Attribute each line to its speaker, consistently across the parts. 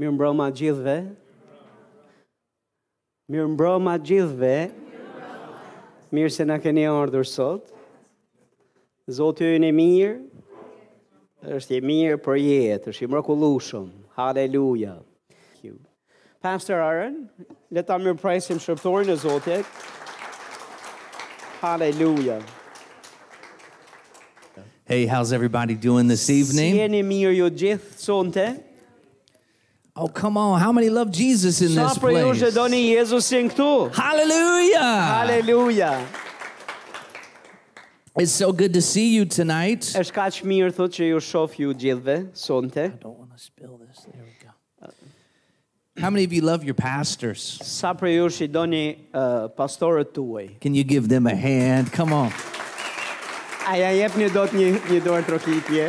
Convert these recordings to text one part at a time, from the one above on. Speaker 1: Mirë mbroma gjithve. Mirë mbroma gjithve. Mirë se na keni ardhur sot. Zoti ynë e mirë. Është i mirë për jetë, është i mrekullueshëm. Halleluja. Thank you. Pastor Aaron, le ta mirëpresim shërbëtorin e Zotit. Halleluja.
Speaker 2: Hey, how's everybody doing this
Speaker 1: Si
Speaker 2: evening?
Speaker 1: jeni mirë ju gjithë sonte?
Speaker 2: Oh, come on. How many love Jesus in
Speaker 1: Sa
Speaker 2: this
Speaker 1: për ju që
Speaker 2: place?
Speaker 1: doni Jezusin këtu?
Speaker 2: Hallelujah.
Speaker 1: Halleluja.
Speaker 2: It's so good to see you tonight. I
Speaker 1: Është kaq mirë thotë që ju shoh ju gjithëve sonte.
Speaker 2: don't want to spill this. There we go. How many of you love your pastors?
Speaker 1: Sa për ju që i doni uh, pastorët tuaj?
Speaker 2: Can you give them a hand? Come on.
Speaker 1: A ja jep një dot një, një dorë trokitje?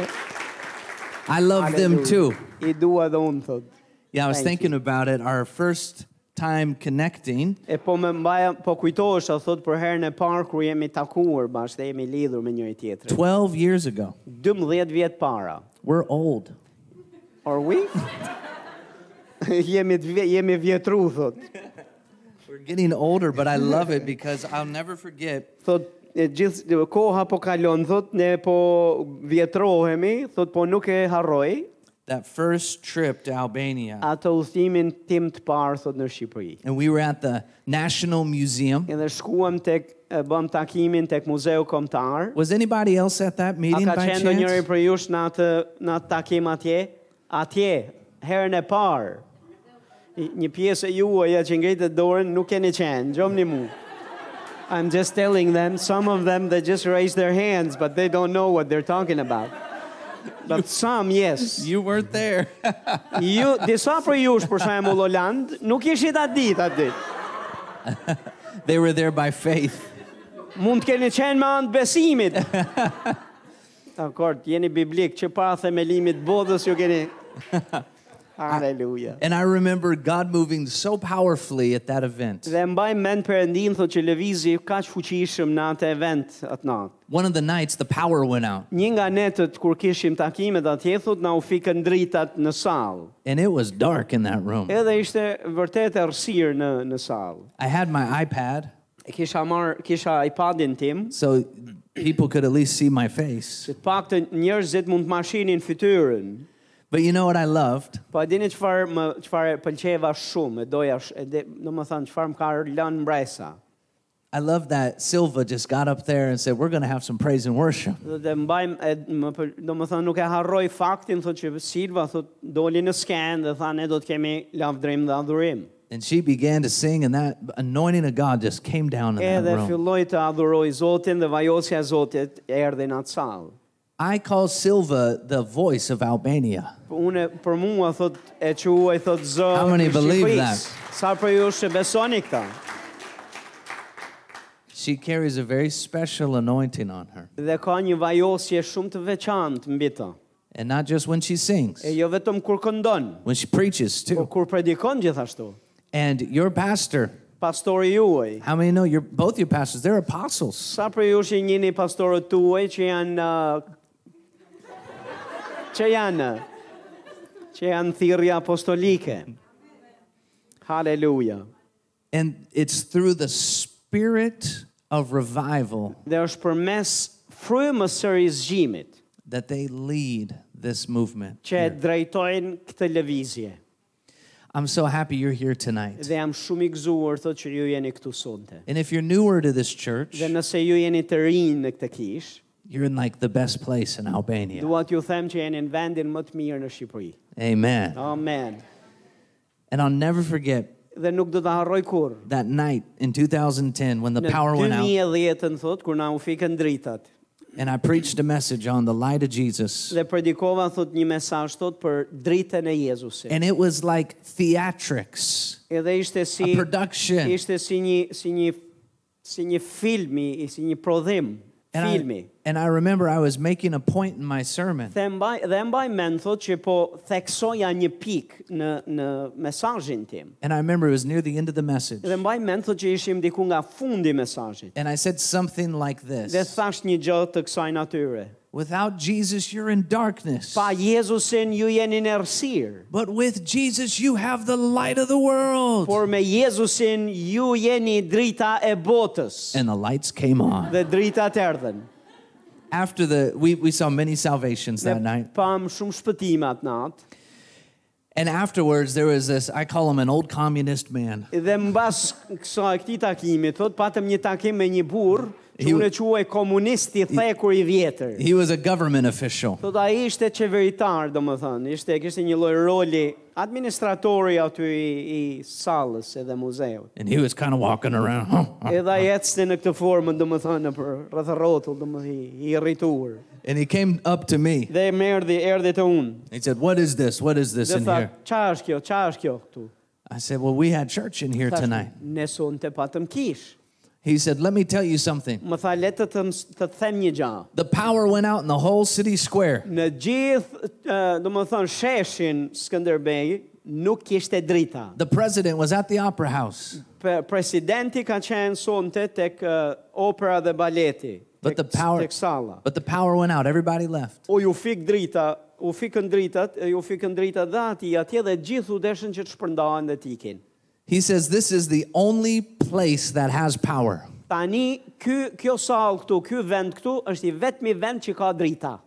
Speaker 2: I love them too.
Speaker 1: I dua dhe unë thotë.
Speaker 2: Yeah, I was
Speaker 1: Thank
Speaker 2: thinking about it. Our first time connecting,
Speaker 1: E po më mbaja, po kujtohesha thotë për herën e parë kur jemi takuar bashkë dhe jemi lidhur me njëri tjetrin.
Speaker 2: 12 years ago.
Speaker 1: 12 vjet para.
Speaker 2: We're old.
Speaker 1: Are we? jemi të vje, jemi vjetru thotë.
Speaker 2: We're getting older, but I love it because I'll never forget
Speaker 1: Thotë e gjithë koha po kalon thotë ne po vjetrohemi, thotë po nuk e harroj
Speaker 2: that first trip to Albania.
Speaker 1: atë udhimin tim të parë thotë në Shqipëri.
Speaker 2: and we were at the National Museum.
Speaker 1: Edhe shkuam tek e bëm takimin tek Muzeu Kombëtar.
Speaker 2: Was anybody else at that
Speaker 1: A
Speaker 2: meeting
Speaker 1: ka qenë
Speaker 2: by chance?
Speaker 1: ndonjëri për jush në atë në atë takim atje? Atje, herën e parë. I- Një pjesë e juaja që ngritet dorën nuk keni qenë, gjomni mu. I'm just telling them, some of them they just raise their hands, but they don't know what they're talking about. But some, yes.
Speaker 2: You weren't there.
Speaker 1: Ju, disa për jush, për shembull Oland, nuk ishit atë ditë, atë ditë.
Speaker 2: they were there by faith.
Speaker 1: mund të keni qenë me anë të besimit. Dakor, jeni biblik që para themelimit të bodhës ju keni Haleluja.
Speaker 2: And I remember God moving so powerfully at that event.
Speaker 1: Dhe mbaj mend Perëndin thotë që lëvizi kaq fuqishëm në atë event atë natë.
Speaker 2: One of the nights, the power went out,
Speaker 1: Një nga netët kur kishim takimet atje thotë na u fikën dritat në sallë.
Speaker 2: and it was dark in that room.
Speaker 1: Edhe ishte vërtet e rrësirë në në sallë.
Speaker 2: I had my iPad
Speaker 1: E kisha marr kisha iPadin tim,
Speaker 2: so people could at least see my face.
Speaker 1: që të paktën njerëzit mund të mashinin fytyrën.
Speaker 2: But you know what I loved?
Speaker 1: Po e dini çfarë më çfarë pëlqeva shumë, e doja, sh- e de, domethënë çfarë më ka lënë mbresa.
Speaker 2: I loved that Silva just got up there and said, We're going to have some praise and worship.
Speaker 1: Dhe, dhe mbajm, e, më pël- domethënë nuk e harroj faktin, thotë që Silva thotë doli në sken dhe tha ne do të kemi lavdrim dhe adhurim.
Speaker 2: And she began to sing, and that anointing of God just came down in
Speaker 1: Edhe
Speaker 2: that room.
Speaker 1: filloi të adhuroj Zotin dhe vajosja e Zotit erdhi në atë sallë.
Speaker 2: I call Silva the voice of Albania.
Speaker 1: Po Unë për mua thot e quaj thot zë.
Speaker 2: How many
Speaker 1: i
Speaker 2: believe
Speaker 1: Shqipërisë.
Speaker 2: that?
Speaker 1: Sa për ju që besoni këtë?
Speaker 2: She carries a very special anointing on her.
Speaker 1: Dhe ka një vajosje shumë të veçantë mbi të.
Speaker 2: And not just when she sings,
Speaker 1: E jo vetëm kur këndon,
Speaker 2: when she preaches
Speaker 1: Po
Speaker 2: too.
Speaker 1: kur predikon gjithashtu,
Speaker 2: And your pastor,
Speaker 1: pastori juaj,
Speaker 2: how many know your both your pastors, they're apostles.
Speaker 1: sa për ju që njëni pastorët tuaj që janë uh, që janë që janë thirrje apostolike. Haleluja.
Speaker 2: And it's through the spirit of revival
Speaker 1: Dhe është përmes frymës së rizgjimit
Speaker 2: that they lead this movement.
Speaker 1: që e drejtojnë këtë lëvizje.
Speaker 2: I'm so happy you're here tonight.
Speaker 1: Dhe jam shumë i gëzuar thotë që ju jeni këtu sonte.
Speaker 2: And if you're newer to this church,
Speaker 1: Dhe nëse ju jeni të rinj në këtë kish,
Speaker 2: you're in like the best place in Albania.
Speaker 1: dua t'ju them që jeni në vendin më të mirë në Shqipëri.
Speaker 2: Amen.
Speaker 1: Amen.
Speaker 2: And I'll never forget
Speaker 1: Dhe nuk do ta harroj kurrë.
Speaker 2: that night in 2010 when the
Speaker 1: Në
Speaker 2: power went out
Speaker 1: 2010-ën thot kur na u fikën dritat.
Speaker 2: and I preached a message on the light of Jesus.
Speaker 1: Dhe predikova thot një mesazh thot për dritën e Jezusit.
Speaker 2: And it was like theatrics,
Speaker 1: Edhe ishte si
Speaker 2: a production.
Speaker 1: ishte si një si një si një film i si një prodhim
Speaker 2: And
Speaker 1: filmi.
Speaker 2: I, and I remember I was making a point in my sermon
Speaker 1: Dhe mbaj dhe mbaj mend thot që po theksoja një pikë në në mesazhin tim.
Speaker 2: and I remember it was near the end of the message.
Speaker 1: Dhe mbaj mend thot që ishim diku nga fundi i mesazhit.
Speaker 2: And I said something like
Speaker 1: Dhe
Speaker 2: this.
Speaker 1: thash një gjë të kësaj natyre.
Speaker 2: Without Jesus, you're in darkness.
Speaker 1: Pa Jezusin ju jeni në errësirë.
Speaker 2: But with Jesus, you have the light of the world.
Speaker 1: Por me Jezusin ju jeni drita e botës.
Speaker 2: and the lights came on.
Speaker 1: Dhe drita të erdhen.
Speaker 2: After the, we, we saw many salvations that
Speaker 1: Ne
Speaker 2: night.
Speaker 1: pam shumë shpëtima atë natë.
Speaker 2: And afterwards, there was this, I call him an old communist man.
Speaker 1: Dhe mbas kësaj këtij takimi, thot patëm një takim me një burr që
Speaker 2: He-
Speaker 1: unë e quaj komunisti thekur i vjetër.
Speaker 2: He was a government official.
Speaker 1: Thot ai ishte qeveritar, domethënë, ishte kishte një lloj roli administratori aty i, i sallës edhe muzeut.
Speaker 2: And he was kind of walking around.
Speaker 1: Edhe ai ecste në këtë formë, domethënë, për rreth rrotull, domethënë, i- i irrituar.
Speaker 2: and he came up to me.
Speaker 1: Dhe më erdhi, erdhi te unë.
Speaker 2: He said, What is this? What is this
Speaker 1: Dhe
Speaker 2: in
Speaker 1: tha,
Speaker 2: here?
Speaker 1: "Ça është kjo? Ça është kjo këtu?"
Speaker 2: I said, Well, we had church in here
Speaker 1: Thash,
Speaker 2: tonight.
Speaker 1: Ne sonte patëm kish.
Speaker 2: He said, Let me tell you something.
Speaker 1: Më tha le të të, ms- të them një gjë.
Speaker 2: The power went out in the whole city square.
Speaker 1: Në gjithë, ë, do më thënë, sheshin Skënderbej nuk kishte drita.
Speaker 2: The president was at the opera house,
Speaker 1: Pe- Presidenti ka qenë sonte tek ë, opera dhe baleti,
Speaker 2: but
Speaker 1: tek,
Speaker 2: the power
Speaker 1: tek salla.
Speaker 2: but the power went out. Everybody left.
Speaker 1: O ju fik drita, u fikën dritat, e, ju fikën dritat dhe ati, atje dhe gjithë u deshën që të shpërndahen dhe tikin.
Speaker 2: He says, This is the only place that has power.
Speaker 1: Tani, ky, kjo sallë këtu, ky vend këtu, është i vetmi vend që ka drita.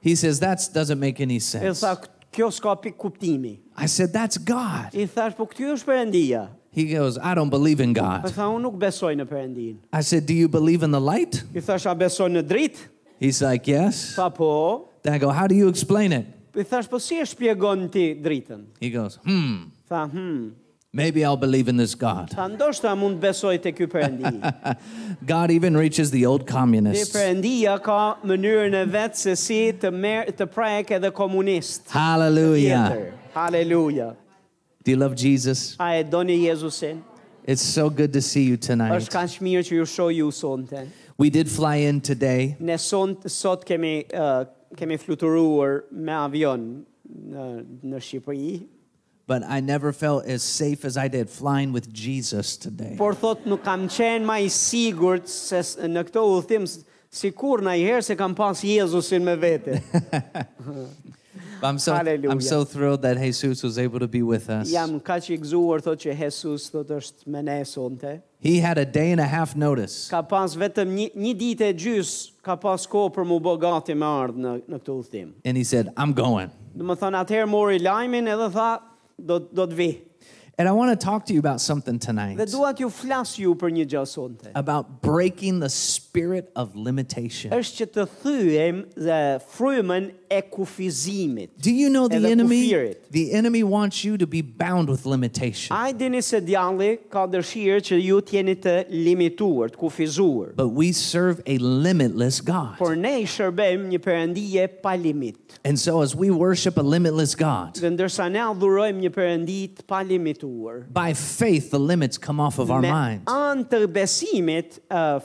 Speaker 2: He says, That doesn't make any
Speaker 1: E
Speaker 2: sense.
Speaker 1: tha, kjo s'ka pik kuptimi.
Speaker 2: I said, That's God.
Speaker 1: I thash, po këty është përëndia.
Speaker 2: He goes, I don't believe in
Speaker 1: Po
Speaker 2: God.
Speaker 1: tha, unë nuk besoj në përëndin.
Speaker 2: I said, Do you believe in the light?
Speaker 1: I thash, a besoj në dritë?
Speaker 2: He's like, Yes.
Speaker 1: Tha, po.
Speaker 2: Then I go, How do you explain it?
Speaker 1: I thash, po si e shpjegon ti dritën?
Speaker 2: He goes, Hmm,
Speaker 1: Tha, hmm.
Speaker 2: maybe I'll believe in this God.
Speaker 1: Tha, ndoshta mund besoj të ky përëndi.
Speaker 2: God even reaches the old
Speaker 1: Dhe
Speaker 2: communists.
Speaker 1: përëndia ka mënyrën e vetë se si të, mer, të prajek edhe komunist.
Speaker 2: Hallelujah.
Speaker 1: Tjetër. Haleluja.
Speaker 2: Do you love Jesus?
Speaker 1: A e doni Jezusin?
Speaker 2: It's so good to see you tonight.
Speaker 1: është kanë shmirë që ju shoh ju sonte.
Speaker 2: We did fly in today.
Speaker 1: Ne son, sot kemi, uh, kemi fluturuar me avion në, në Shqipëri,
Speaker 2: But I never felt as safe as I did flying with Jesus today.
Speaker 1: por thot nuk kam qenë ma i sigurt se s- në këto udhëtim s- si kur në i herë se kam pas Jezusin me vete.
Speaker 2: But I'm so I'm
Speaker 1: Hallelujah.
Speaker 2: so thrilled that Jesus was able to be with us.
Speaker 1: Jam ka që i gëzuar thot që Jesus thot është me ne sonte.
Speaker 2: He had a day and a half notice.
Speaker 1: Ka pas vetëm një, një ditë e gjys, ka pas kohë për mu bo gati me ardhë në, në këtë udhëtim.
Speaker 2: And he said, "I'm going."
Speaker 1: Dhe më thënë atëherë mori lajmin edhe tha do, do të vi.
Speaker 2: And I want to talk to you about something tonight.
Speaker 1: Dhe dua t'ju flas ju për një gjë sonte.
Speaker 2: about breaking the spirit of limitation.
Speaker 1: është që të thyem dhe frymën e kufizimit.
Speaker 2: Do you know the
Speaker 1: Edhe
Speaker 2: enemy?
Speaker 1: kufirit.
Speaker 2: The enemy wants you to be bound with limitation.
Speaker 1: A i dini se djalli ka dëshirë që ju t'jeni të limituar, të kufizuar.
Speaker 2: But we serve a limitless God.
Speaker 1: Por ne i shërbejmë një perëndije pa limit.
Speaker 2: And so as we worship a limitless God,
Speaker 1: Dhe ndërsa ne adhurojmë një perëndi të pa limituar.
Speaker 2: by faith the limits come off of our
Speaker 1: Me
Speaker 2: minds.
Speaker 1: anë të besimit, uh,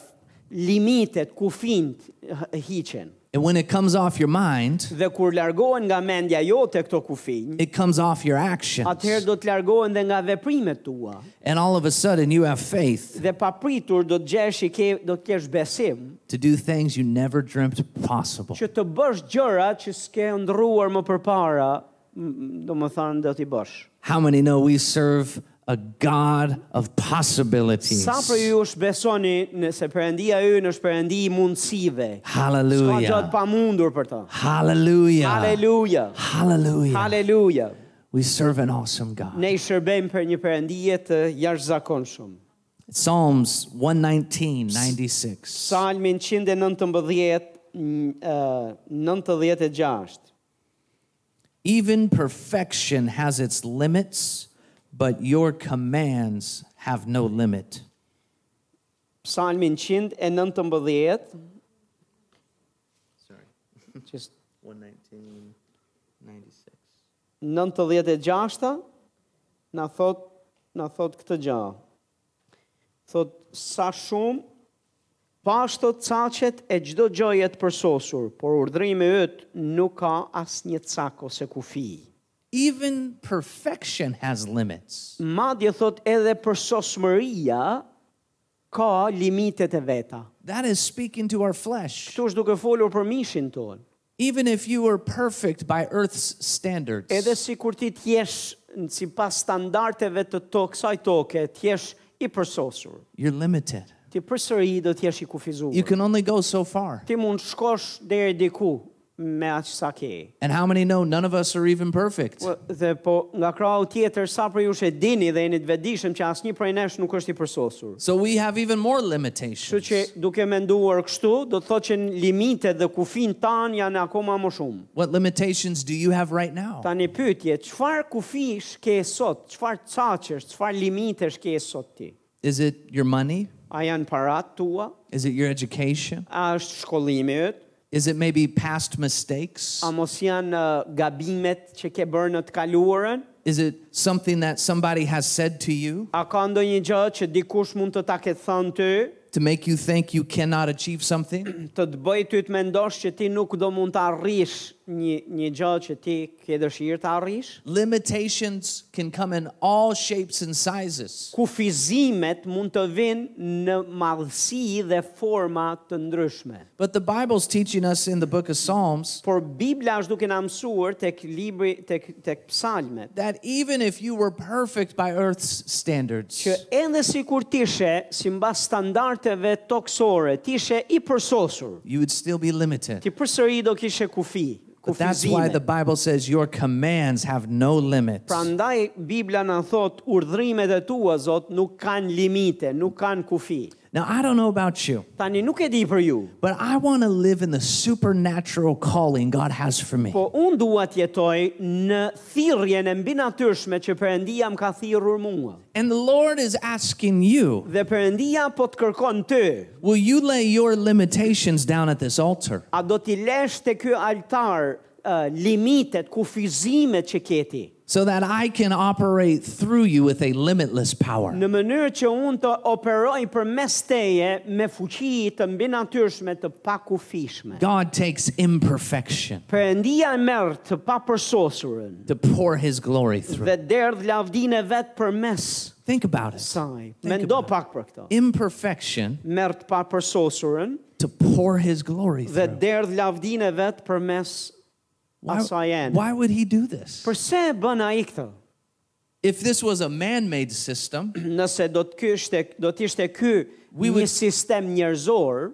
Speaker 1: limitet, kufint h- hiqen.
Speaker 2: And when it comes off your mind,
Speaker 1: Dhe kur largohen nga mendja jote këto kufinj,
Speaker 2: it comes off your actions.
Speaker 1: atëherë do të largohen dhe nga veprimet tua.
Speaker 2: And all of a sudden you have faith
Speaker 1: Dhe papritur do të gjesh i ke, do të kesh besim
Speaker 2: to do things you never dreamt possible.
Speaker 1: që të bësh gjëra që s'ke ndruar më përpara, m- do më thënë do t'i bësh.
Speaker 2: How many know we serve a God of possibilities?
Speaker 1: Sa për ju është besoni nëse përëndia ju në është përëndi i mundësive. S'ka
Speaker 2: Hallelujah.
Speaker 1: gjatë pa mundur për ta.
Speaker 2: Hallelujah.
Speaker 1: Haleluja.
Speaker 2: Hallelujah.
Speaker 1: Haleluja.
Speaker 2: We serve an awesome God.
Speaker 1: Ne i shërbejmë për një përëndije të jashtëzakonshëm.
Speaker 2: Psalms 119, 96.
Speaker 1: Psalmin 119, n- eh, 96.
Speaker 2: Even perfection has its limits, but your commands have no limit.
Speaker 1: Psalmin 119,
Speaker 2: Sorry,
Speaker 1: që është
Speaker 2: 119, 96.
Speaker 1: 96 na thot na thot këtë gjë. Thot sa shumë pashto caqet e çdo gjëje të përsosur, por urdhrimi yt nuk ka asnjë cak ose kufi.
Speaker 2: Even perfection has limits,
Speaker 1: Madje thot edhe përsosmëria ka limitet e veta.
Speaker 2: That is speaking to our flesh.
Speaker 1: Ktu është duke folur për mishin ton.
Speaker 2: Even if you were perfect by earth's standards,
Speaker 1: Edhe si kur ti t'jesh në- si pas standarteve të tokë, kësaj toke, t'jesh i përsosur.
Speaker 2: you're limited.
Speaker 1: Ti përsëri do t'jesh i
Speaker 2: You
Speaker 1: kufizuar.
Speaker 2: can only go so far.
Speaker 1: Ti mund shkosh deri diku me aq sa ke.
Speaker 2: And how many know none of us are even perfect?
Speaker 1: Po- Dhe po nga krau tjetër sa për ju e dini dhe jeni të vetëdijshëm që asnjë prej nesh nuk është i përsosur.
Speaker 2: So we have even more
Speaker 1: Kështu
Speaker 2: limitations.
Speaker 1: që duke menduar kështu, do të thotë që limitet dhe kufin tan janë akoma më shumë.
Speaker 2: What limitations do you have right now?
Speaker 1: Tani pyetje, çfarë kufish ke sot? Çfarë caqesh? Çfarë limitesh ke sot ti?
Speaker 2: Is it your money?
Speaker 1: A janë parat tua?
Speaker 2: Is it your education?
Speaker 1: A është shkollimi yt?
Speaker 2: Is it maybe past mistakes?
Speaker 1: A mos janë ë, gabimet që ke bërë në të kaluarën?
Speaker 2: Is it something that somebody has said to you
Speaker 1: A ka ndonjë gjë që dikush mund të ta ketë thënë ty,
Speaker 2: to make you think you cannot achieve something?
Speaker 1: të të bëj ty të mendosh që ti nuk do mund të arrish një një gjë që ti ke dëshirë të arrish?
Speaker 2: Limitations can come in all shapes and sizes.
Speaker 1: Kufizimet mund të vinë në madhësi dhe forma të ndryshme.
Speaker 2: But the Bible's teaching us in the book of Psalms
Speaker 1: Por Bibla është duke na mësuar tek libri tek tek psalmet
Speaker 2: that even if you were perfect by earth's standards,
Speaker 1: që edhe sikur ti ishe simbas standardeve toksore, ti ishe i përsosur,
Speaker 2: you would still be limited.
Speaker 1: ti përsëri do kishe kufi,
Speaker 2: But that's why the
Speaker 1: kufizime.
Speaker 2: Bible says your commands have no limit.
Speaker 1: Prandaj Bibla na thot urdhërimet e tua Zot nuk kanë limite, nuk kanë kufi.
Speaker 2: Now, I don't know about you,
Speaker 1: Tani nuk e di për ju,
Speaker 2: but I want to live in the supernatural calling God has for me.
Speaker 1: po unë dua të jetoj në thirrjen e mbinatyrshme që Perëndia më ka thirrur mua.
Speaker 2: And the Lord is asking you,
Speaker 1: Dhe Perëndia po të kërkon ty,
Speaker 2: will you lay your limitations down at this altar?
Speaker 1: A do t'i lesh të kjo altar uh, limitet, kufizimet që keti,
Speaker 2: so that I can operate through you with a limitless power.
Speaker 1: në mënyrë që unë të operoj për mes teje me fuqi të mbi natyrshme të pakufishme.
Speaker 2: God takes imperfection
Speaker 1: Perëndia e merr të papërsosurën
Speaker 2: to pour his glory through.
Speaker 1: dhe derdh lavdin e vet për mes
Speaker 2: Think about it.
Speaker 1: saj.
Speaker 2: Think
Speaker 1: Mendo
Speaker 2: about it.
Speaker 1: pak për këto.
Speaker 2: Imperfection
Speaker 1: Merr të papërsosurën
Speaker 2: to pour his glory
Speaker 1: dhe
Speaker 2: through.
Speaker 1: derdh lavdin e vet për mes asaj
Speaker 2: Why,
Speaker 1: ende.
Speaker 2: why would he do this?
Speaker 1: Përse e bën ai këtë?
Speaker 2: If this was a man made system,
Speaker 1: nëse do të kishte do të ishte ky
Speaker 2: We
Speaker 1: një
Speaker 2: would-
Speaker 1: sistem njerëzor,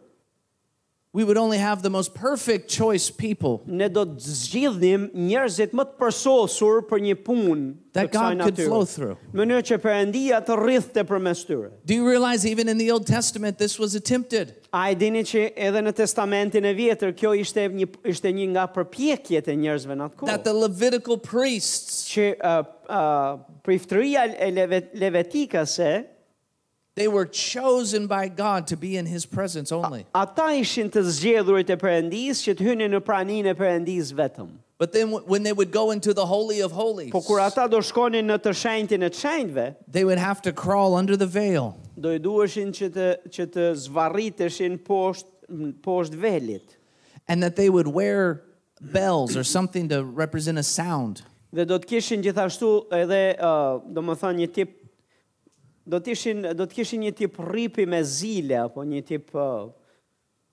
Speaker 2: we would only have the most perfect choice people
Speaker 1: ne do të zgjidhnim njerëzit më të përsosur për një punë të
Speaker 2: that
Speaker 1: kësaj
Speaker 2: God could flow
Speaker 1: natyre.
Speaker 2: through.
Speaker 1: Në Mënyrë që Perëndia të rrithte përmes tyre.
Speaker 2: Do you realize even in the Old Testament this was attempted?
Speaker 1: A e dini që edhe në Testamentin e Vjetër kjo ishte një ishte një nga përpjekjet e njerëzve në atë kohë.
Speaker 2: That the Levitical priests,
Speaker 1: që uh, uh, priftëria e levet, levetikase,
Speaker 2: they were chosen by God to be in his presence only.
Speaker 1: ata ishin të zgjedhurit e Perëndisë që të hynin në praninë e Perëndisë vetëm.
Speaker 2: But then w- when they would go into the Holy of Holies,
Speaker 1: Po kur ata do shkonin në të shenjtin e të shenjtëve,
Speaker 2: they would have to crawl under the veil.
Speaker 1: do i duheshin që të që të zvarriteshin poshtë poshtë velit
Speaker 2: And that they would wear bells or something to represent a sound.
Speaker 1: dhe do të kishin gjithashtu edhe uh, do më thënë një tip do të ishin do të kishin një tip rripi me zile apo një tip uh,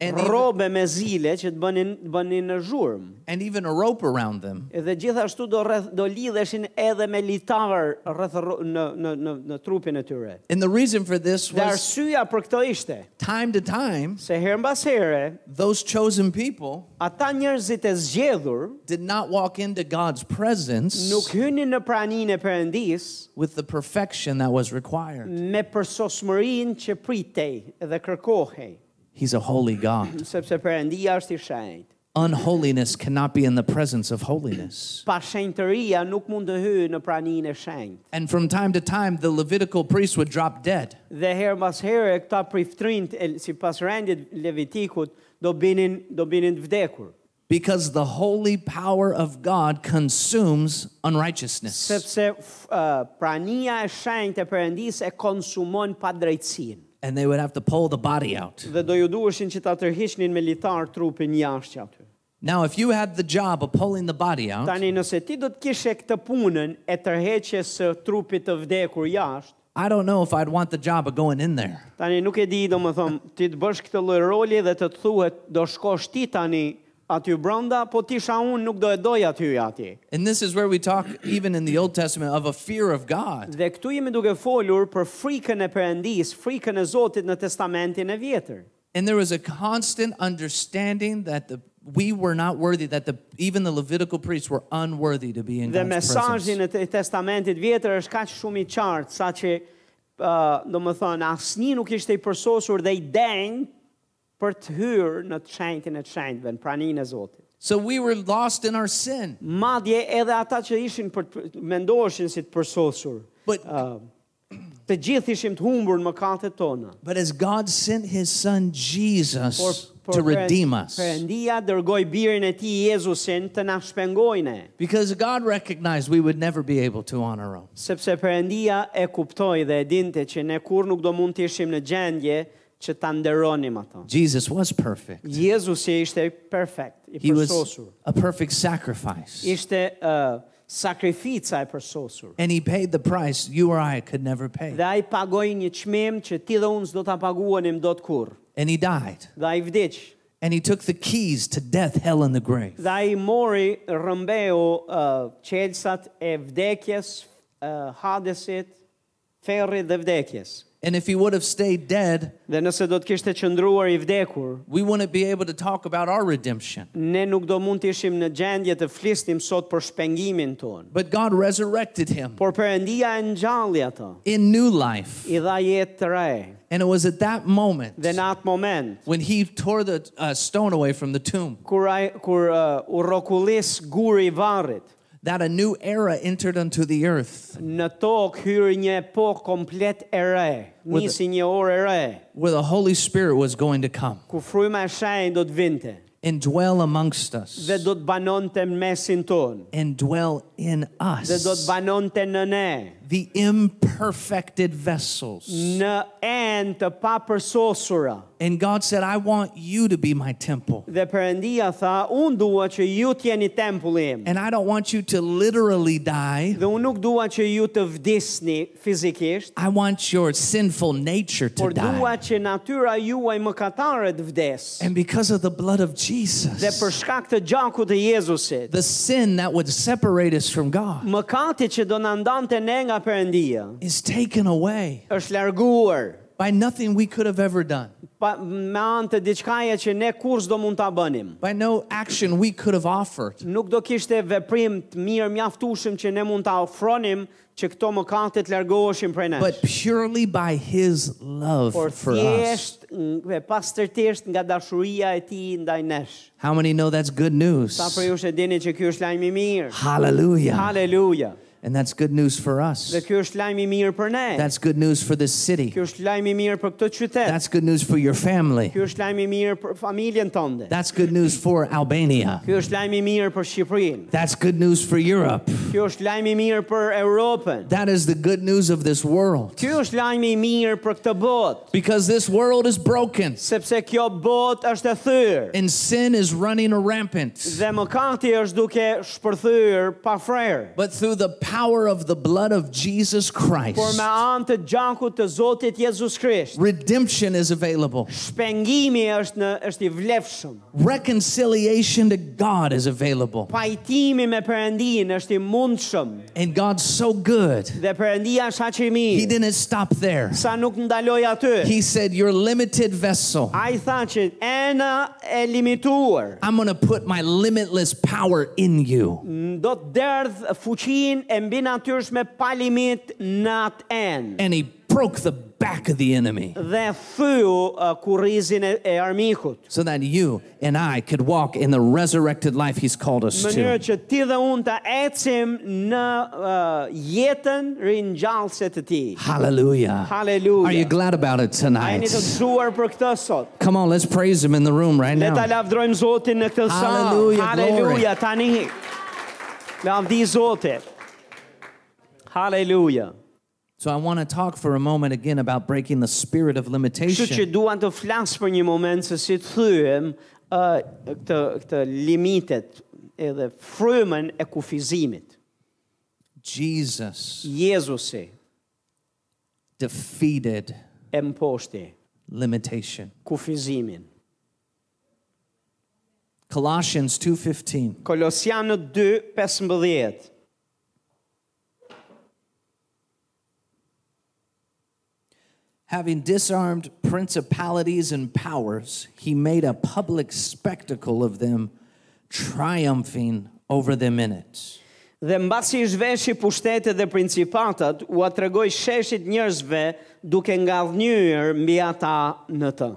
Speaker 2: And even,
Speaker 1: robe me zile që të bënin të bënin në zhurmë.
Speaker 2: and even a rope around them.
Speaker 1: Dhe gjithashtu do rreth, do lidheshin edhe me litar rreth rro- në në në, në trupin e tyre.
Speaker 2: And the reason for this
Speaker 1: Dhe
Speaker 2: was
Speaker 1: arsyeja për këtë ishte
Speaker 2: time to time,
Speaker 1: se herë mbas here
Speaker 2: those chosen people
Speaker 1: ata njerëzit e zgjedhur
Speaker 2: did not walk into God's presence
Speaker 1: nuk hynin në praninë e Perëndis
Speaker 2: with the perfection that was required.
Speaker 1: me përsosmërinë që pritej dhe kërkohej,
Speaker 2: He's a holy God.
Speaker 1: sepse Perëndia është i shenjtë.
Speaker 2: Unholiness cannot be in the presence of holiness.
Speaker 1: Pa shenjtëria nuk mund të hyjë në praninë e shenjtë.
Speaker 2: And from time to time, the Levitical priests would drop dead.
Speaker 1: Dhe herë pas here këta priftrinjt e- sipas rendit Levitikut do binin do binin të vdekur,
Speaker 2: Because the holy power of God consumes unrighteousness.
Speaker 1: sepse f- uh, prania e shenjtë e Perëndisë e konsumon padrejtësinë.
Speaker 2: And they would have to pull the body out.
Speaker 1: Dhe do ju duheshin që ta tërhiqnin me litar trupin jashtë aty.
Speaker 2: Now, if you had the job of pulling the body out,
Speaker 1: Tani nëse ti do të kishe këtë punën e tërheqjes së trupit të vdekur jashtë,
Speaker 2: I don't know if I'd want the job of going in there.
Speaker 1: Tani nuk e di, do më thëmë, ti të bësh këtë lloj roli dhe të të thuhet, do shkosh ti tani aty brenda, po ti sha unë nuk do e doj aty atje.
Speaker 2: And this is where we talk, even in the Old Testament, of a fear of God.
Speaker 1: Dhe këtu jemi duke folur për frikën e Perëndis, frikën e Zotit në Testamentin e Vjetër.
Speaker 2: And there was a constant understanding that the we were not worthy, that the even the Levitical priests were unworthy to be in
Speaker 1: Dhe
Speaker 2: God's presence.
Speaker 1: mesazhi në te- Testamentit Vjetër është kaq shumë i qartë sa që ë do më thënë, asnjë nuk ishte i përsosur dhe i denjë për të hyrë në të shenjtin e të shenjtëve, në praninë e Zotit.
Speaker 2: So we were lost in our sin.
Speaker 1: Madje edhe ata që ishin për të mendoheshin si të përsosur.
Speaker 2: But-
Speaker 1: ë, Ehm, të gjithë ishim të humbur në mëkatet tona.
Speaker 2: But as God sent his son Jesus
Speaker 1: Por, por
Speaker 2: to
Speaker 1: Perënd-
Speaker 2: redeem us,
Speaker 1: Perëndia dërgoi birin e tij Jezusin të na shpengojë ne,
Speaker 2: because God recognized we would never be able to on our own.
Speaker 1: sepse Perëndia e kuptoi dhe e dinte që ne kur nuk do mund të ishim në gjendje që ta nderonim ato.
Speaker 2: Jesus was perfect.
Speaker 1: Jezusi ishte perfekt, i
Speaker 2: He was
Speaker 1: përsosur.
Speaker 2: a perfect sacrifice.
Speaker 1: Ishte uh, sakrifica e përsosur.
Speaker 2: And he paid the price you or I could never pay.
Speaker 1: Dhe ai pagoi një çmim që ti dhe unë s'do ta paguanim dot kurrë.
Speaker 2: And he died.
Speaker 1: Dhe ai vdiq.
Speaker 2: And he took the keys to death, hell, and the grave.
Speaker 1: Dhe ai mori rëmbeu uh, qelsat e vdekjes, uh, hadesit, ferrit dhe vdekjes.
Speaker 2: And if he would have stayed dead,
Speaker 1: Dhe nëse do të kishte qëndruar i vdekur,
Speaker 2: we wouldn't be able to talk about our redemption.
Speaker 1: ne nuk do mund të ishim në gjendje të flisnim sot për shpengimin tonë.
Speaker 2: But God resurrected him
Speaker 1: Por Perëndia e ngjalli atë,
Speaker 2: in new life.
Speaker 1: i dha jetë të re.
Speaker 2: And it was at that moment
Speaker 1: Dhe në atë moment,
Speaker 2: when he tore the uh, stone away from the tomb
Speaker 1: kur, ai, kur uh, u rokullis guri i varrit,
Speaker 2: that a new era entered unto the earth
Speaker 1: në tokë hyrë një epokë komplet e re,
Speaker 2: With the-
Speaker 1: nisi një orë e re,
Speaker 2: where the Holy Spirit was going to come
Speaker 1: ku fryma e shenjtë do të vinte
Speaker 2: and dwell amongst us
Speaker 1: dhe do të banonte në mesin tonë,
Speaker 2: and dwell in
Speaker 1: dhe do të
Speaker 2: us,
Speaker 1: banonte në ne,
Speaker 2: the imperfected vessels.
Speaker 1: në enë të papërsosura.
Speaker 2: And God said, I want you to be my temple.
Speaker 1: Dhe Perëndia tha, unë dua që ju të jeni tempulli im.
Speaker 2: And I don't want you to literally die.
Speaker 1: Dhe unë nuk dua që ju të vdisni fizikisht,
Speaker 2: I want your sinful nature to
Speaker 1: por dua
Speaker 2: die.
Speaker 1: që natyra juaj mëkatare të vdes.
Speaker 2: And because of the blood of
Speaker 1: Dhe për
Speaker 2: Jesus,
Speaker 1: shkak të gjakut të Jezusit,
Speaker 2: the sin that would separate us from God
Speaker 1: mëkati që do na ndante ne nga Perëndia
Speaker 2: is taken away
Speaker 1: është larguar
Speaker 2: by nothing we could have ever done,
Speaker 1: pa me anë të diçkaje që ne kur s'do mund ta bënim.
Speaker 2: by no action we could have offered.
Speaker 1: Nuk do kishte veprim të mirë mjaftueshëm që ne mund ta ofronim që këto mëkate të largoheshin prej nesh.
Speaker 2: But purely by his love
Speaker 1: por
Speaker 2: for us.
Speaker 1: thjesht n- e pastërtisht nga dashuria e tij ndaj nesh.
Speaker 2: How many know that's good news?
Speaker 1: Sa për ju e dini që ky është lajm i mirë.
Speaker 2: Hallelujah.
Speaker 1: Haleluja.
Speaker 2: And that's good news for us.
Speaker 1: Dhe ky është lajm i mirë për ne.
Speaker 2: That's good news for this city.
Speaker 1: Ky është lajm i mirë për këtë qytet.
Speaker 2: That's good news for your family.
Speaker 1: Ky është lajm i mirë për familjen tënde.
Speaker 2: That's good news for Albania.
Speaker 1: Ky është lajm i mirë për Shqipërinë.
Speaker 2: That's good news for Europe.
Speaker 1: Ky është lajm i mirë për Europën.
Speaker 2: That is the good news of this world.
Speaker 1: Ky është lajmi i mirë për këtë botë,
Speaker 2: Because this world is broken
Speaker 1: sepse kjo botë është e thyrë
Speaker 2: and sin is running rampant.
Speaker 1: dhe mëkati është duke shpërthyer pa frerë.
Speaker 2: But through the power of the blood of Jesus
Speaker 1: Por
Speaker 2: Christ,
Speaker 1: me anë të gjakut të Zotit Jezus Krisht,
Speaker 2: redemption is available,
Speaker 1: shpengimi është në është i vlefshëm.
Speaker 2: reconciliation to God is available.
Speaker 1: Pajtimi me Perëndin është i mundshëm
Speaker 2: And God's so good,
Speaker 1: dhe Perëndia është aq i
Speaker 2: He
Speaker 1: mirë
Speaker 2: didn't stop there.
Speaker 1: sa nuk ndaloi aty.
Speaker 2: He said, Your limited vessel,
Speaker 1: Ai tha që ena e limituar
Speaker 2: I'm going to put my limitless power in you.
Speaker 1: do të derdh fuqinë e mbinatyrshme pa limit në atë enë.
Speaker 2: And He broke the back of the enemy.
Speaker 1: dhe thyu uh, kurrizin e, e armikut.
Speaker 2: so that you and I could walk in the resurrected life He's called us
Speaker 1: Në mënyrë
Speaker 2: to.
Speaker 1: që ti dhe unë ta ecim në uh, jetën rinjallëse të ti.
Speaker 2: Hallelujah.
Speaker 1: Hallelujah.
Speaker 2: Are you glad about it
Speaker 1: A jeni
Speaker 2: tonight?
Speaker 1: të gëzuar për këtë sot.
Speaker 2: Come on, let's praise Him in the room right
Speaker 1: Le ta
Speaker 2: now.
Speaker 1: lavdrojmë Zotin në këtë sa.
Speaker 2: Hallelujah,
Speaker 1: Haleluja, tani. Lavdi Zotit. Haleluja.
Speaker 2: So I want to talk for a moment again about breaking the spirit of
Speaker 1: Kështu që
Speaker 2: limitation.
Speaker 1: duan të flas për një moment se si të thyem uh, këtë, këtë limitet edhe frymën e kufizimit.
Speaker 2: Jesus
Speaker 1: Jezusi
Speaker 2: defeated
Speaker 1: e mposhti
Speaker 2: limitation.
Speaker 1: kufizimin.
Speaker 2: Colossians 2:15.
Speaker 1: Kolosianët 2:15.
Speaker 2: Having disarmed principalities and powers, he made a public spectacle of them, triumphing over them in it.
Speaker 1: Dhe mbasi i zhveshi pushtetet dhe principatat, u atregoi sheshit njerëzve duke ngadhnyer mbi ata në të.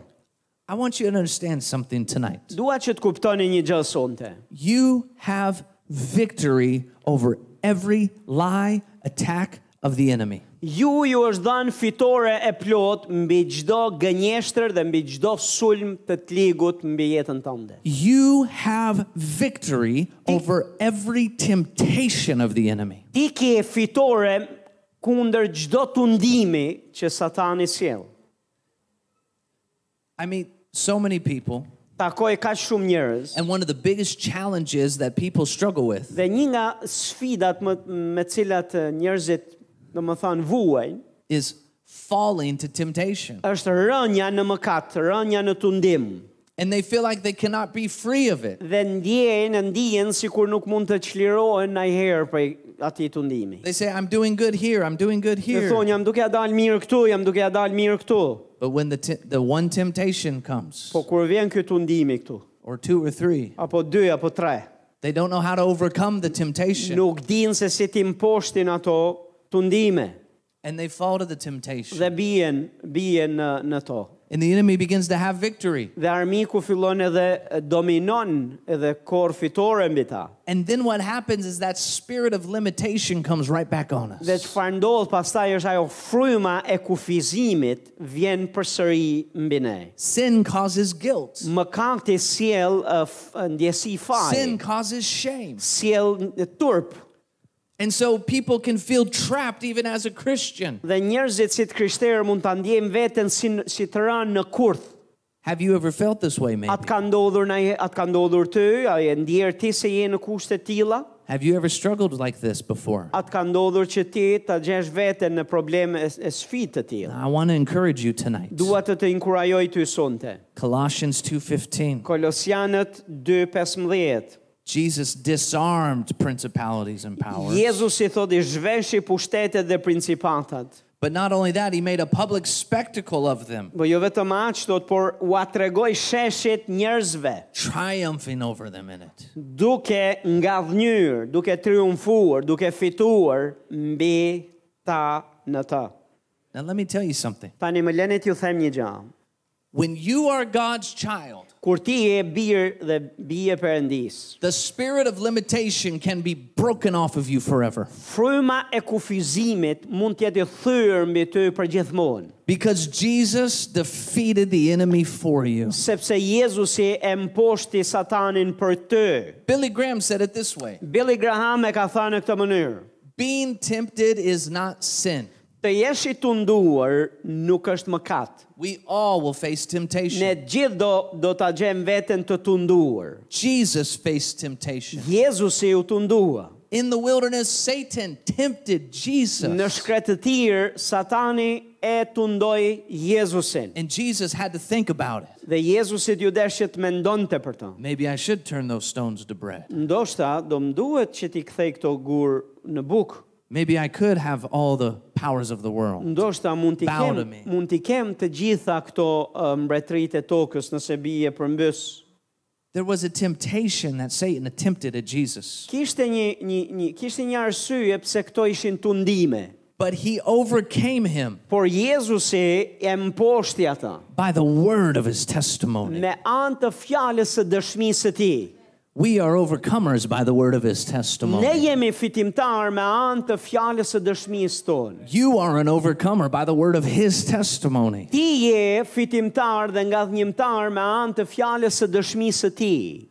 Speaker 2: I want you to understand something tonight.
Speaker 1: Dua që të kuptoni një gjë sonte.
Speaker 2: You have victory over every lie, attack of the enemy.
Speaker 1: Ju ju është dhënë fitore e plot mbi çdo gënjeshtër dhe mbi çdo sulm të të ligut mbi jetën tënde.
Speaker 2: You have victory over every temptation of the enemy.
Speaker 1: Ti ke fitore kundër çdo tundimi që Satani sjell.
Speaker 2: I meet so many people,
Speaker 1: Takoj kaq shumë njerëz.
Speaker 2: and one of the biggest challenges that people struggle with
Speaker 1: Dhe një nga sfidat më, me cilat eh, njerëzit, në më thanë, vuajnë,
Speaker 2: is falling to temptation.
Speaker 1: është rënja në mëkat, rënja në tundim.
Speaker 2: And they feel like they cannot be free of it.
Speaker 1: Dhe ndjenë, ndijen si kur nuk mund të çlirohen në herë për ati tundimi.
Speaker 2: They say, I'm doing good here, I'm doing good
Speaker 1: Dhe
Speaker 2: here.
Speaker 1: thonë, jam duke a dalë mirë këtu, jam duke a dalë mirë këtu.
Speaker 2: But when the, te- the one temptation comes,
Speaker 1: Po kur vjen ky tundimi këtu,
Speaker 2: or two or three,
Speaker 1: apo dy, apo tre,
Speaker 2: they don't know how to overcome the temptation.
Speaker 1: nuk dinë se si ti mposhtin ato tundime.
Speaker 2: And they fall to the temptation.
Speaker 1: Dhe bien, bien në, në to.
Speaker 2: And the enemy begins to have victory.
Speaker 1: Dhe armiku fillon edhe eh, dominon edhe kor fitore mbi ta.
Speaker 2: And then what happens is that spirit of limitation comes right back on us.
Speaker 1: Dhe që farë ndodhë pastaj është ajo fryma e kufizimit vjen përsëri mbi ne.
Speaker 2: Sin causes guilt.
Speaker 1: Më kanë të sjell uh, f- ndjesi faje,
Speaker 2: Sin causes shame.
Speaker 1: sjell në turp
Speaker 2: And so people can feel trapped even as a Christian.
Speaker 1: dhe njerëzit si të krishterë mund ta ndjejmë veten si n- si të rënë në kurth.
Speaker 2: Have you ever felt this way, maybe?
Speaker 1: Atë ka ndodhur na, atë ka ndodhur ty, a e ndjer ti se je në kushte të tilla?
Speaker 2: Have you ever struggled like this before?
Speaker 1: Atë ka ndodhur që ti ta gjesh veten në probleme e, s- e sfidë të tilla.
Speaker 2: I want to encourage you tonight.
Speaker 1: Dua të të inkurajoj ty sonte.
Speaker 2: Colossians 2:15.
Speaker 1: Kolosianët 2:15.
Speaker 2: Jesus disarmed principalities and powers.
Speaker 1: Jezusi thot i zhveshi pushtetet dhe principatat.
Speaker 2: But not only that, he made a public spectacle of them,
Speaker 1: Po jo vetëm aq thot, por u atregoi sheshit njerëzve,
Speaker 2: triumphing over them in it.
Speaker 1: duke ngadhnyer, duke triumfuar, duke fituar mbi ta në ta.
Speaker 2: Now let me tell you something.
Speaker 1: Tani më leni t'ju them një gjë.
Speaker 2: When you are God's child,
Speaker 1: Kur ti je bir dhe bie perëndis,
Speaker 2: the spirit of limitation can be broken off of you forever
Speaker 1: fryma e kufizimit mund t'jetë i thyrë mbi ty për gjithmonë,
Speaker 2: because Jesus defeated the enemy for you.
Speaker 1: sepse Jezusi e mposhti Satanin për ty.
Speaker 2: Billy Graham said it this way
Speaker 1: Billy Graham e ka thënë në këtë mënyrë.
Speaker 2: Being tempted is not sin.
Speaker 1: Të jesh i tunduar nuk është mëkat.
Speaker 2: We all will face
Speaker 1: Ne
Speaker 2: temptation.
Speaker 1: gjithë do, do të gjem veten të tunduar.
Speaker 2: Jesus faced temptation.
Speaker 1: Jezusi u tundua.
Speaker 2: In the wilderness, Satan
Speaker 1: Në
Speaker 2: tempted Jesus.
Speaker 1: shkretëtir, Satani e tundoi Jezusin.
Speaker 2: And Jesus had to think about it.
Speaker 1: Dhe Jezusi ju deshit me ndonte për të.
Speaker 2: Maybe I should turn those stones to bread.
Speaker 1: Ndoshta, do më duhet që ti kthej këto gur në buk.
Speaker 2: Maybe I could have all the powers of the world.
Speaker 1: Ndoshta mund t'i
Speaker 2: Bow
Speaker 1: kem,
Speaker 2: to me.
Speaker 1: mund t'i kem të gjitha këto uh, mbretëritë e tokës nëse bie përmbys.
Speaker 2: There was a temptation that Satan attempted at Jesus,
Speaker 1: Kishte një, një, një, kishte një arsye pse këto ishin tundime.
Speaker 2: but he overcame him
Speaker 1: Por Jezusi e mposhti ata
Speaker 2: by the word of his testimony.
Speaker 1: me anë të fjalës së dëshmisë së tij.
Speaker 2: We are overcomers by the word of his
Speaker 1: Ne
Speaker 2: testimony.
Speaker 1: jemi fitimtar me anë të fjalës së dëshmisë tonë.
Speaker 2: You are an overcomer by the word of his testimony.
Speaker 1: Ti je fitimtar dhe ngadhnjimtar me anë të fjalës së dëshmisë së tij.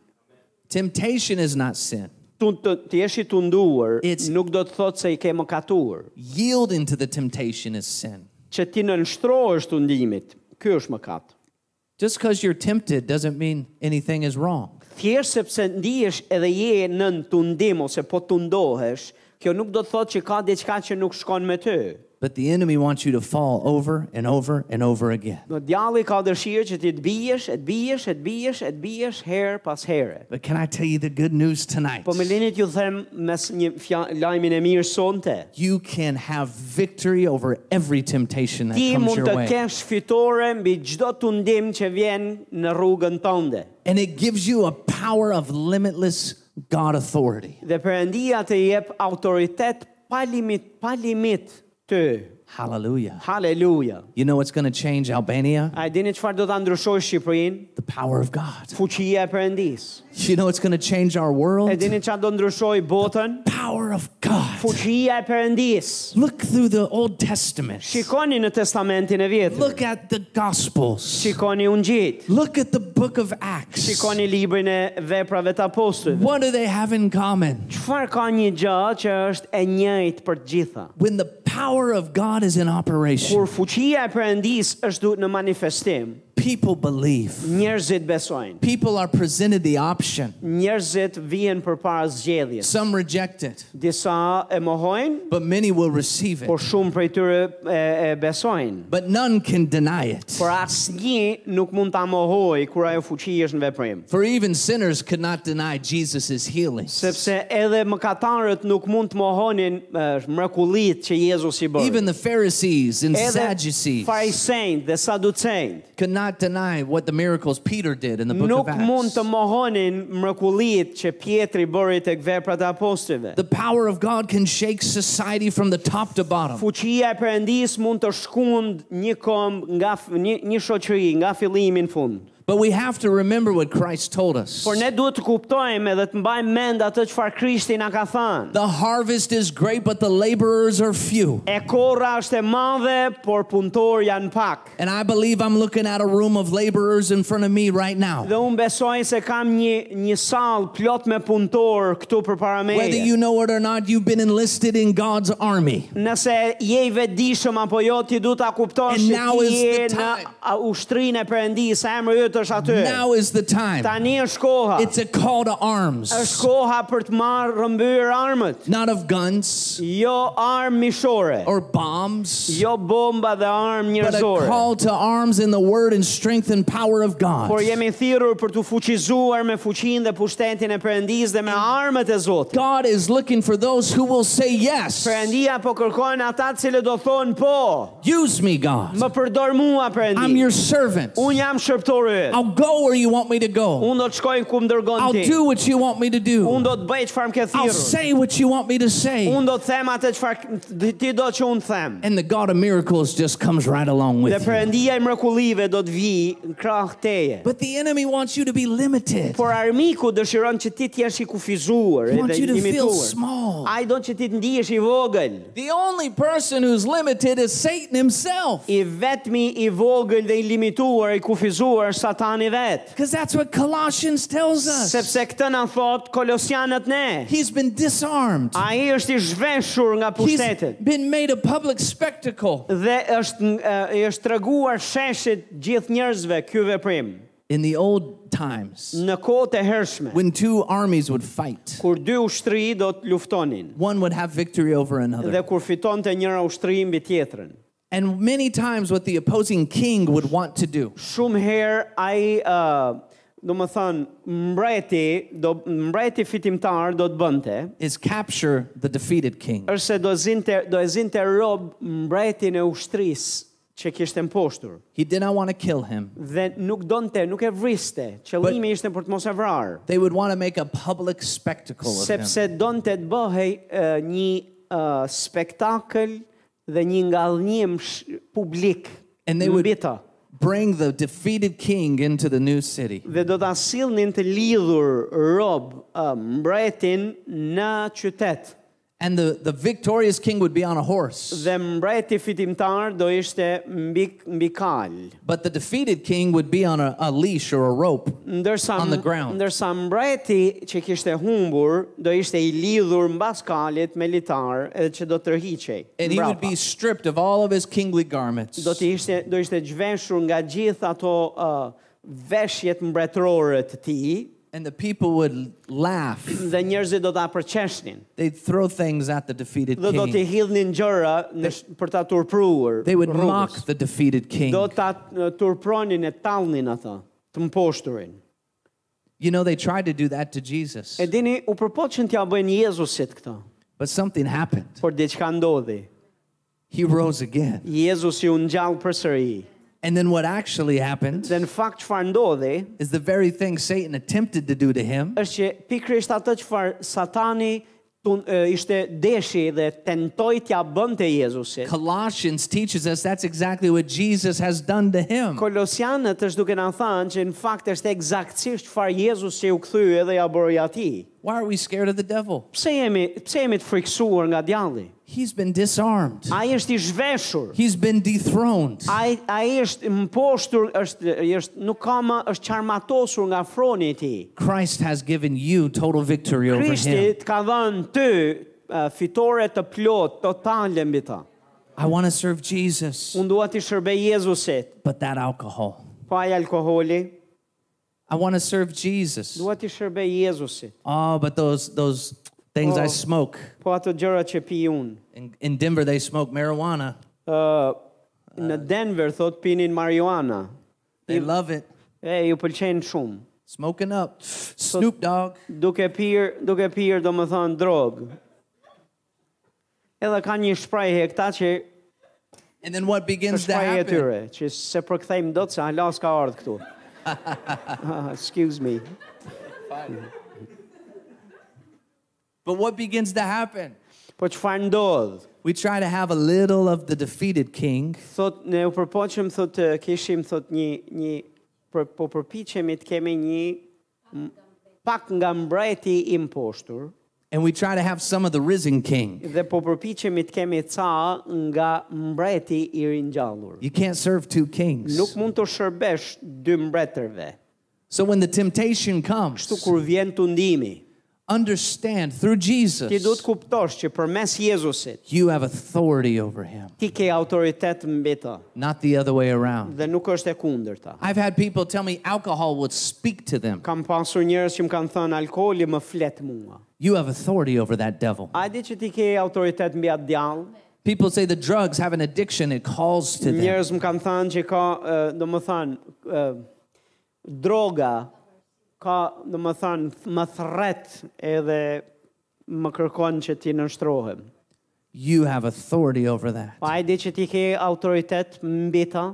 Speaker 2: Temptation is not sin.
Speaker 1: Tu të, të jesh i tunduar
Speaker 2: It's-
Speaker 1: nuk do të thotë se i ke mëkatuar.
Speaker 2: Yielding to the temptation is sin.
Speaker 1: Që ti nënshtrohesh tundimit, ky është mëkat.
Speaker 2: Just because you're tempted doesn't mean anything is wrong.
Speaker 1: Thjesht sepse ndihesh edhe je nën tundim ose po tundohesh, Kjo nuk do të thotë që ka diçka që nuk shkon me ty.
Speaker 2: But the enemy wants you to fall over and over and over again.
Speaker 1: Do djalli ka dëshirë që ti të bijesh, e të bijesh, e të bijesh, e të bijesh herë pas here.
Speaker 2: But can I tell you the good news tonight?
Speaker 1: Po më lini t'ju them mes një fja- lajmin e mirë sonte.
Speaker 2: You can have victory over every temptation that
Speaker 1: Ti
Speaker 2: comes
Speaker 1: mund
Speaker 2: your
Speaker 1: të
Speaker 2: way.
Speaker 1: kesh fitore mbi çdo tundim që vjen në rrugën tënde.
Speaker 2: And it gives you a power of limitless God authority.
Speaker 1: Dhe Perëndia të jep autoritet pa limit, pa limit ty.
Speaker 2: Hallelujah.
Speaker 1: Haleluja.
Speaker 2: You know what's going to change Albania?
Speaker 1: A e dini çfarë do ta ndryshoj Shqipërinë?
Speaker 2: The power of God.
Speaker 1: Fuqia e Perëndisë.
Speaker 2: You know what's going to change our
Speaker 1: E
Speaker 2: world?
Speaker 1: dini çfarë do ndryshoj botën?
Speaker 2: Power of God.
Speaker 1: Fuqia e Perëndisë.
Speaker 2: Look through the Old Testament.
Speaker 1: Shikoni në Testamentin e Vjetër.
Speaker 2: Look at the Gospels.
Speaker 1: Shikoni Ungjit.
Speaker 2: Look at the book of Acts.
Speaker 1: Shikoni librin e veprave të apostujve.
Speaker 2: What do they have in common?
Speaker 1: Çfarë ka një gjë që është e njëjtë për të gjitha?
Speaker 2: When the power of God is in operation,
Speaker 1: Kur fuqia e Perëndisë është duhet në manifestim,
Speaker 2: people believe.
Speaker 1: njerëzit besojnë.
Speaker 2: People are presented the option.
Speaker 1: Njerëzit vijnë përpara zgjedhjes.
Speaker 2: Some reject it,
Speaker 1: Disa e mohojnë,
Speaker 2: but many will receive it.
Speaker 1: por shumë prej tyre e, e besojnë.
Speaker 2: But none can deny it.
Speaker 1: Por asnjë nuk mund ta mohoj kur ajo fuqi është në veprim.
Speaker 2: For even sinners could not deny Jesus' healing.
Speaker 1: Sepse edhe mëkatarët nuk mund të mohonin eh, mrekullitë që Jezusi bëri.
Speaker 2: Even the Pharisees and
Speaker 1: Edhe
Speaker 2: Sadducees
Speaker 1: farisejnë dhe saducejnë
Speaker 2: could not deny what the miracles Peter did in the book
Speaker 1: nuk
Speaker 2: of
Speaker 1: mund
Speaker 2: Acts.
Speaker 1: të mohonin mrekullitë që Pietri bëri tek veprat e apostujve.
Speaker 2: The power of God can shake society from the top to bottom.
Speaker 1: Fuqia e Perëndis mund të shkund një komb nga f- një, një shoqëri nga fillimi në fund.
Speaker 2: But we have to remember what Christ told us.
Speaker 1: Por ne duhet të kuptojmë edhe të mbajmë mend atë çfarë Krishti na ka thënë.
Speaker 2: The harvest is great, but the laborers are few.
Speaker 1: E korra është e madhe, por punëtor janë pak.
Speaker 2: And I believe I'm looking at a room of laborers in front of me right
Speaker 1: Dhe
Speaker 2: now.
Speaker 1: unë besoj se kam një një sallë plot me punëtor këtu përpara
Speaker 2: Whether
Speaker 1: meje.
Speaker 2: you know it or not, you've been enlisted in God's army.
Speaker 1: Nëse je i vetëdijshëm apo jo, ti duhet ta kuptosh
Speaker 2: And
Speaker 1: se
Speaker 2: now
Speaker 1: ti
Speaker 2: is the
Speaker 1: je në
Speaker 2: time.
Speaker 1: a- ushtrinë e Perëndisë, emri yt është aty.
Speaker 2: Now is the time.
Speaker 1: Tani është koha.
Speaker 2: It's a call to
Speaker 1: Është
Speaker 2: arms,
Speaker 1: koha për të marrë rëmbyrë armët.
Speaker 2: not of guns
Speaker 1: Jo armë mishore,
Speaker 2: or bombs,
Speaker 1: jo bomba dhe armë
Speaker 2: but a
Speaker 1: njerëzore.
Speaker 2: call to arms in the word and strength and power of
Speaker 1: Por
Speaker 2: God.
Speaker 1: jemi thirrur për të fuqizuar me fuqinë dhe pushtetin e Perëndisë dhe me armët e Zotit.
Speaker 2: God is looking for those who will say yes.
Speaker 1: Perëndia po kërkon ata të cilët do thonë po.
Speaker 2: Use me, God.
Speaker 1: Më përdor mua
Speaker 2: I'm
Speaker 1: Perëndi.
Speaker 2: your servant.
Speaker 1: Unë jam shërptori. yt.
Speaker 2: I'll go where you want me to go.
Speaker 1: Unë do të shkoj ku më dërgon
Speaker 2: I'll
Speaker 1: ti.
Speaker 2: do what you want me to
Speaker 1: Unë
Speaker 2: do.
Speaker 1: do të bëj çfarë më ke
Speaker 2: I'll
Speaker 1: thirrur.
Speaker 2: say what you want me to say.
Speaker 1: Unë do të them atë çfarë ti do që unë them.
Speaker 2: And the God of miracles just comes right along
Speaker 1: Dhe
Speaker 2: with you.
Speaker 1: Perëndia e mrekullive do të vijë në krah teje.
Speaker 2: But the enemy wants you to be limited.
Speaker 1: Por armiku dëshiron që ti të jesh i kufizuar
Speaker 2: He wants
Speaker 1: edhe
Speaker 2: you
Speaker 1: i
Speaker 2: to feel
Speaker 1: limituar.
Speaker 2: small.
Speaker 1: Ai don që ti të ndihesh i vogël.
Speaker 2: The only person who's limited is Satan himself.
Speaker 1: I vetmi i vogël dhe i limituar, i kufizuar satani vet.
Speaker 2: Because that's what Colossians tells us.
Speaker 1: Sepse këtë na thot Kolosianët ne.
Speaker 2: He's been disarmed,
Speaker 1: Ai është i zhveshur nga
Speaker 2: he's
Speaker 1: pushtetet
Speaker 2: been made a public spectacle.
Speaker 1: dhe është eh, i është treguar sheshit gjithë njerëzve ky veprim
Speaker 2: In the old times,
Speaker 1: në kohë të hershme.
Speaker 2: when two armies would fight,
Speaker 1: kur dy ushtri do të luftonin
Speaker 2: one would have victory over
Speaker 1: dhe
Speaker 2: another.
Speaker 1: kur fitonte njëra ushtri mbi tjetrën.
Speaker 2: And many times, what the opposing king would want to do
Speaker 1: Shumë herë ai ë do më thënë mbreti, do, mbreti fitimtar do të bënte,
Speaker 2: is capture the defeated king.
Speaker 1: është se do, zinte, do e zinte rob mbretin e ushtrisë që kishte mposhtur
Speaker 2: He did not want to kill him.
Speaker 1: dhe nuk donte, nuk e vriste. Qëllimi ishte për të mos e vrarë,
Speaker 2: They would want to make a public spectacle of him.
Speaker 1: sepse donte të bëhej ë, një uh, spektakël dhe një ngadhënim sh- publik.
Speaker 2: And they would-
Speaker 1: mbi ta.
Speaker 2: Bring the defeated king into the new city.
Speaker 1: dhe do ta sillnin të lidhur rob uh, mbretin në qytet
Speaker 2: And the, the victorious king would be on a horse.
Speaker 1: dhe mbreti fitimtar do ishte mbi mbi kal
Speaker 2: But the defeated king would be on a, a leash or a rope.
Speaker 1: ndërsa
Speaker 2: On the ground.
Speaker 1: ndërsa mbreti që kishte humbur do ishte i lidhur mbas kalit me litar edhe që do tërhiqej
Speaker 2: And he would
Speaker 1: mbrapa.
Speaker 2: be stripped of all of his kingly garments.
Speaker 1: do të ishte do ishte zhveshur nga gjithë ato uh, veshjet mbretërore të tij
Speaker 2: And the people would laugh.
Speaker 1: dhe njerëzit do ta përqeshnin.
Speaker 2: They'd throw things at the defeated
Speaker 1: Dhe do t'i
Speaker 2: king.
Speaker 1: hidhnin gjëra në sh- për ta turpruar.
Speaker 2: They would mock
Speaker 1: rrugës.
Speaker 2: the defeated
Speaker 1: Do
Speaker 2: king.
Speaker 1: ta uh, turpronin e tallnin atë, të mposhturin.
Speaker 2: You know, they tried to do that to Jesus,
Speaker 1: E dini, u përpoqën t'ja bëjnë Jezusit këtë,
Speaker 2: but something happened.
Speaker 1: por diçka ndodhi.
Speaker 2: He rose again.
Speaker 1: Jezusi u ngjall përsëri.
Speaker 2: And then what actually happened
Speaker 1: Dhe në fakt çfarë ndodhi
Speaker 2: is the very thing Satan attempted to do to him
Speaker 1: është që pikërisht atë çfarë Satani tun, e, ishte deshi dhe tentoi t'ja bënte Jezusit.
Speaker 2: Colossians teaches us that's exactly what Jesus has done to him.
Speaker 1: Kolosianët është duke na thënë që në fakt është eksaktësisht çfarë Jezusi u kthye dhe ja bëri atij.
Speaker 2: Why are we scared of the devil?
Speaker 1: Pse jemi pse jemi të friksuar nga djalli?
Speaker 2: He's been disarmed.
Speaker 1: Ai është i zhveshur.
Speaker 2: He's been dethroned.
Speaker 1: Ai ai është mposhtur, është është nuk ka më është çarmatosur nga froni i tij.
Speaker 2: Christ has given you total victory over
Speaker 1: Krishti
Speaker 2: him.
Speaker 1: të ka dhënë ty uh, fitore të plot, totale mbi ta.
Speaker 2: I want to serve Jesus,
Speaker 1: Unë dua t'i shërbej Jezusit,
Speaker 2: but that alcohol.
Speaker 1: pa ai alkoholi,
Speaker 2: I want to serve Jesus.
Speaker 1: dua t'i shërbej Jezusit,
Speaker 2: Oh, but those those things I
Speaker 1: Oh.
Speaker 2: smoke.
Speaker 1: po ato gjëra që pi unë.
Speaker 2: In, in Denver they smoke marijuana.
Speaker 1: Uh, në Denver, thot, pinin marijuana.
Speaker 2: They love it.
Speaker 1: E, ju pëlqenë shumë.
Speaker 2: Smoking up. Snoop Dogg.
Speaker 1: Duke pirë, duke pirë, do më thënë, drogë. Edhe ka një shprajhe këta që
Speaker 2: And then what begins to
Speaker 1: shprajhe e
Speaker 2: happen?
Speaker 1: tyre, që se përkthejmë do të se halas ka ardhë këtu. Ah, excuse me.
Speaker 2: But what begins to happen?
Speaker 1: Po çfarë ndodh?
Speaker 2: We try to have a little of the defeated king,
Speaker 1: Thot ne u përpoqëm thot të kishim thot një një për, po përpiqemi të kemi një m- pak nga mbreti i mposhtur
Speaker 2: and we try to have some of the risen king.
Speaker 1: dhe po përpiqemi të kemi ca nga mbreti i ringjallur.
Speaker 2: You can't serve two kings.
Speaker 1: Nuk mund të shërbesh dy mbretërve.
Speaker 2: So when the temptation comes,
Speaker 1: Kështu kur vjen tundimi,
Speaker 2: understand through
Speaker 1: ti duhet
Speaker 2: Jesus,
Speaker 1: kuptosh që përmes Jezusit
Speaker 2: you have authority over him,
Speaker 1: ti ke autoritet mbi të
Speaker 2: not the other way around.
Speaker 1: dhe nuk është e kundërta.
Speaker 2: I've had people tell me alcohol would speak to them.
Speaker 1: Kam pasur njerëz që më kanë thënë alkooli më flet mua.
Speaker 2: You have authority over that devil.
Speaker 1: A e di që ti ke autoritet mbi atë djallë?
Speaker 2: People say the drugs have an addiction, it calls to them.
Speaker 1: Njerëz më kanë thënë që ka, ë, do më thënë, ë, droga, ka, do më thënë, th- më thret edhe më kërkon që ti nështrohem.
Speaker 2: You have authority over that.
Speaker 1: Pa e di që ti ke autoritet mbi ta,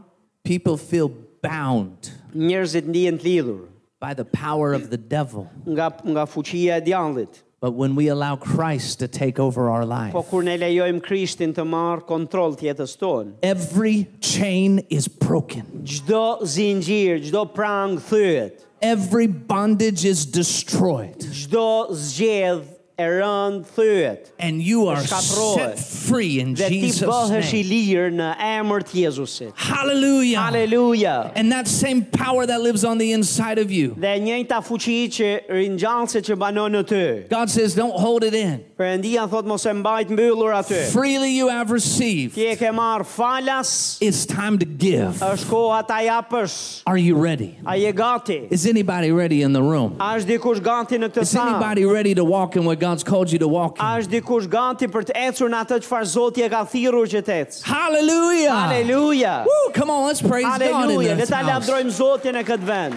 Speaker 2: People feel bound
Speaker 1: njerëzit ndihen të lidhur
Speaker 2: by the power of the devil.
Speaker 1: nga, nga fuqia e djallit.
Speaker 2: But when we allow Christ to take over our life,
Speaker 1: Po kur ne lejojmë Krishtin të marë kontrol të jetës tonë,
Speaker 2: every chain is broken,
Speaker 1: gjdo zingjir, gjdo prangë thyet,
Speaker 2: every bondage is destroyed,
Speaker 1: gjdo zgjedh e rënd thyet,
Speaker 2: and you are
Speaker 1: Shkatrohet.
Speaker 2: set free in
Speaker 1: dhe ti
Speaker 2: Jesus'
Speaker 1: bëhesh i
Speaker 2: name.
Speaker 1: lirë në emër të Jezusit.
Speaker 2: Hallelujah.
Speaker 1: Aleluja.
Speaker 2: And that same power that lives on the inside of you,
Speaker 1: Dhe njëjta fuqi që ringjallse që banon në ty.
Speaker 2: God says, don't hold it in.
Speaker 1: Perëndia thot mos e mbajt mbyllur aty.
Speaker 2: Freely you have received.
Speaker 1: Ti e ke marr falas,
Speaker 2: It's time to give.
Speaker 1: është koha ta japësh.
Speaker 2: Are you ready?
Speaker 1: A je gati?
Speaker 2: Is anybody ready in the room?
Speaker 1: A është dikush gati në këtë
Speaker 2: Is
Speaker 1: sa?
Speaker 2: anybody ready to walk in what God's called you to walk
Speaker 1: A
Speaker 2: in?
Speaker 1: është dikush gati për të ecur në atë çfarë Zoti e ka thirrur që të ecë?
Speaker 2: Hallelujah.
Speaker 1: Aleluja.
Speaker 2: Ah. Woo, come on, let's praise God in
Speaker 1: Aleluja. Le
Speaker 2: this
Speaker 1: ta
Speaker 2: house.
Speaker 1: lavdrojmë Zotin e këtë vend.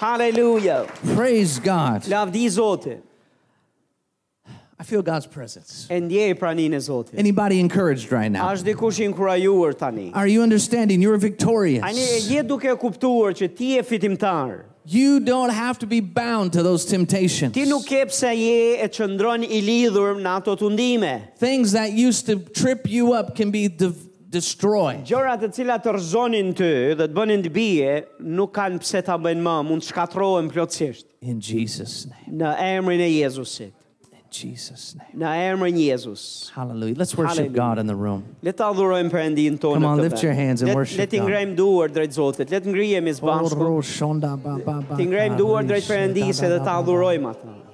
Speaker 1: Haleluja.
Speaker 2: Praise God.
Speaker 1: Lavdi Zotin.
Speaker 2: I feel God's presence.
Speaker 1: E ndjej praninë e Zotit.
Speaker 2: Anybody encouraged right
Speaker 1: A
Speaker 2: now?
Speaker 1: është dikush i inkurajuar tani?
Speaker 2: Are you understanding? You're
Speaker 1: Ani e
Speaker 2: victorious.
Speaker 1: je duke e kuptuar që ti je fitimtar.
Speaker 2: You don't have to be bound to those temptations.
Speaker 1: Ti nuk ke pse je e qëndron i lidhur në ato tundime.
Speaker 2: Things that used to trip you up can be de- destroyed.
Speaker 1: Gjërat të cilat të rëzonin ty dhe të bënin të bie, nuk kanë pse ta bëjnë më, mund të shkatrohen plotësisht
Speaker 2: In Jesus' name.
Speaker 1: në emrin e Jezusit,
Speaker 2: In Jesus' name.
Speaker 1: në emrin Jezus.
Speaker 2: Hallelujah. Let's worship
Speaker 1: Hallelujah.
Speaker 2: God in the room.
Speaker 1: Le ta adhurojmë Perëndin tonë.
Speaker 2: Come on,
Speaker 1: këtë
Speaker 2: lift
Speaker 1: vend.
Speaker 2: your hands and
Speaker 1: Le-
Speaker 2: worship
Speaker 1: Le të
Speaker 2: God.
Speaker 1: ngrejmë duar drejt Zotit. Le të ngrihemi së bashku. Të ngrejmë duar drejt Perëndisë dhe ta adhurojmë atë.